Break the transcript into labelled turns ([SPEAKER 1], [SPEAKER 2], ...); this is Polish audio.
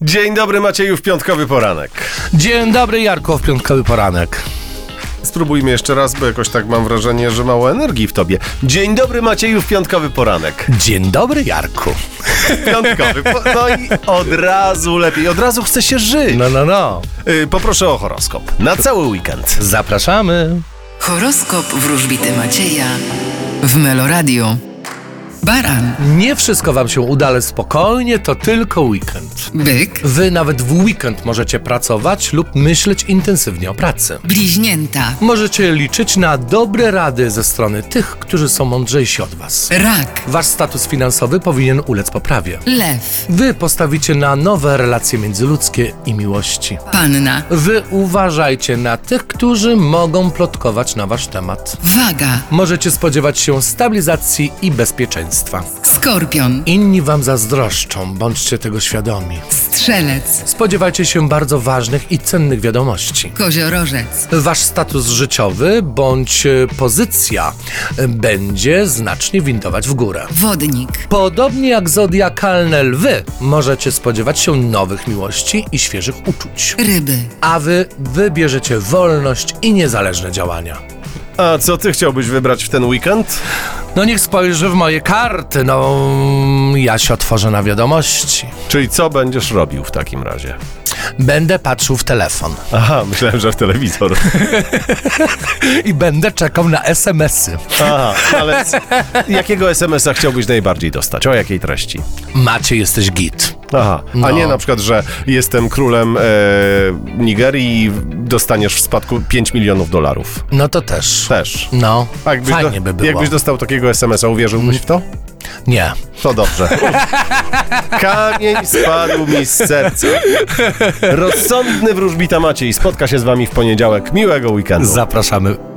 [SPEAKER 1] Dzień dobry Macieju w piątkowy poranek.
[SPEAKER 2] Dzień dobry, Jarko, w piątkowy poranek.
[SPEAKER 1] Spróbujmy jeszcze raz, bo jakoś tak mam wrażenie, że mało energii w tobie. Dzień dobry Macieju w piątkowy poranek.
[SPEAKER 2] Dzień dobry, Jarku.
[SPEAKER 1] Piątkowy. Po... No i od razu lepiej, od razu chce się żyć.
[SPEAKER 2] No, no, no.
[SPEAKER 1] Y, Poproszę o horoskop na cały weekend.
[SPEAKER 2] Zapraszamy.
[SPEAKER 3] Horoskop wróżbity Macieja w Meloradio. Baran,
[SPEAKER 2] Nie wszystko wam się uda, ale spokojnie, to tylko weekend.
[SPEAKER 3] byk,
[SPEAKER 2] Wy nawet w weekend możecie pracować lub myśleć intensywnie o pracy.
[SPEAKER 3] bliźnięta,
[SPEAKER 2] Możecie liczyć na dobre rady ze strony tych, którzy są mądrzejsi od was.
[SPEAKER 3] rak,
[SPEAKER 2] Wasz status finansowy powinien ulec poprawie.
[SPEAKER 3] lew,
[SPEAKER 2] Wy postawicie na nowe relacje międzyludzkie i miłości.
[SPEAKER 3] panna,
[SPEAKER 2] Wy uważajcie na tych, którzy mogą plotkować na wasz temat.
[SPEAKER 3] waga,
[SPEAKER 2] Możecie spodziewać się stabilizacji i bezpieczeństwa.
[SPEAKER 3] skorpion,
[SPEAKER 2] Inni wam zazdroszczą, bądźcie tego świadomi.
[SPEAKER 3] strzelec,
[SPEAKER 2] Spodziewajcie się bardzo ważnych i cennych wiadomości.
[SPEAKER 3] koziorożec,
[SPEAKER 2] Wasz status życiowy bądź e, pozycja e, będzie znacznie windować w górę.
[SPEAKER 3] wodnik,
[SPEAKER 2] Podobnie jak zodiakalne lwy, możecie spodziewać się nowych miłości i świeżych uczuć.
[SPEAKER 3] ryby.
[SPEAKER 2] a wy wybierzecie wolność i niezależne działania.
[SPEAKER 1] A co ty chciałbyś wybrać w ten weekend?
[SPEAKER 2] No niech spojrzy w moje karty, no ja się otworzę na wiadomości.
[SPEAKER 1] Czyli co będziesz robił w takim razie?
[SPEAKER 2] Będę patrzył w telefon
[SPEAKER 1] Aha, myślałem, że w telewizor.
[SPEAKER 2] i będę czekał na SMS-y.
[SPEAKER 1] Aha, ale z- jakiego SMS-a chciałbyś najbardziej dostać? O jakiej treści?
[SPEAKER 2] Macie, jesteś git.
[SPEAKER 1] Aha, a
[SPEAKER 2] No.
[SPEAKER 1] nie na przykład, że jestem królem e, Nigerii i dostaniesz w spadku 5 milionów dolarów.
[SPEAKER 2] No to też.
[SPEAKER 1] Też.
[SPEAKER 2] No,
[SPEAKER 1] A jakbyś
[SPEAKER 2] fajnie
[SPEAKER 1] do-
[SPEAKER 2] by było.
[SPEAKER 1] Jakbyś dostał takiego SMS-a, uwierzyłbyś w to?
[SPEAKER 2] Nie.
[SPEAKER 1] To dobrze. Kamień spadł mi z serca. Rozsądny wróżbita Maciej spotka się z wami w poniedziałek. Miłego weekendu.
[SPEAKER 2] Zapraszamy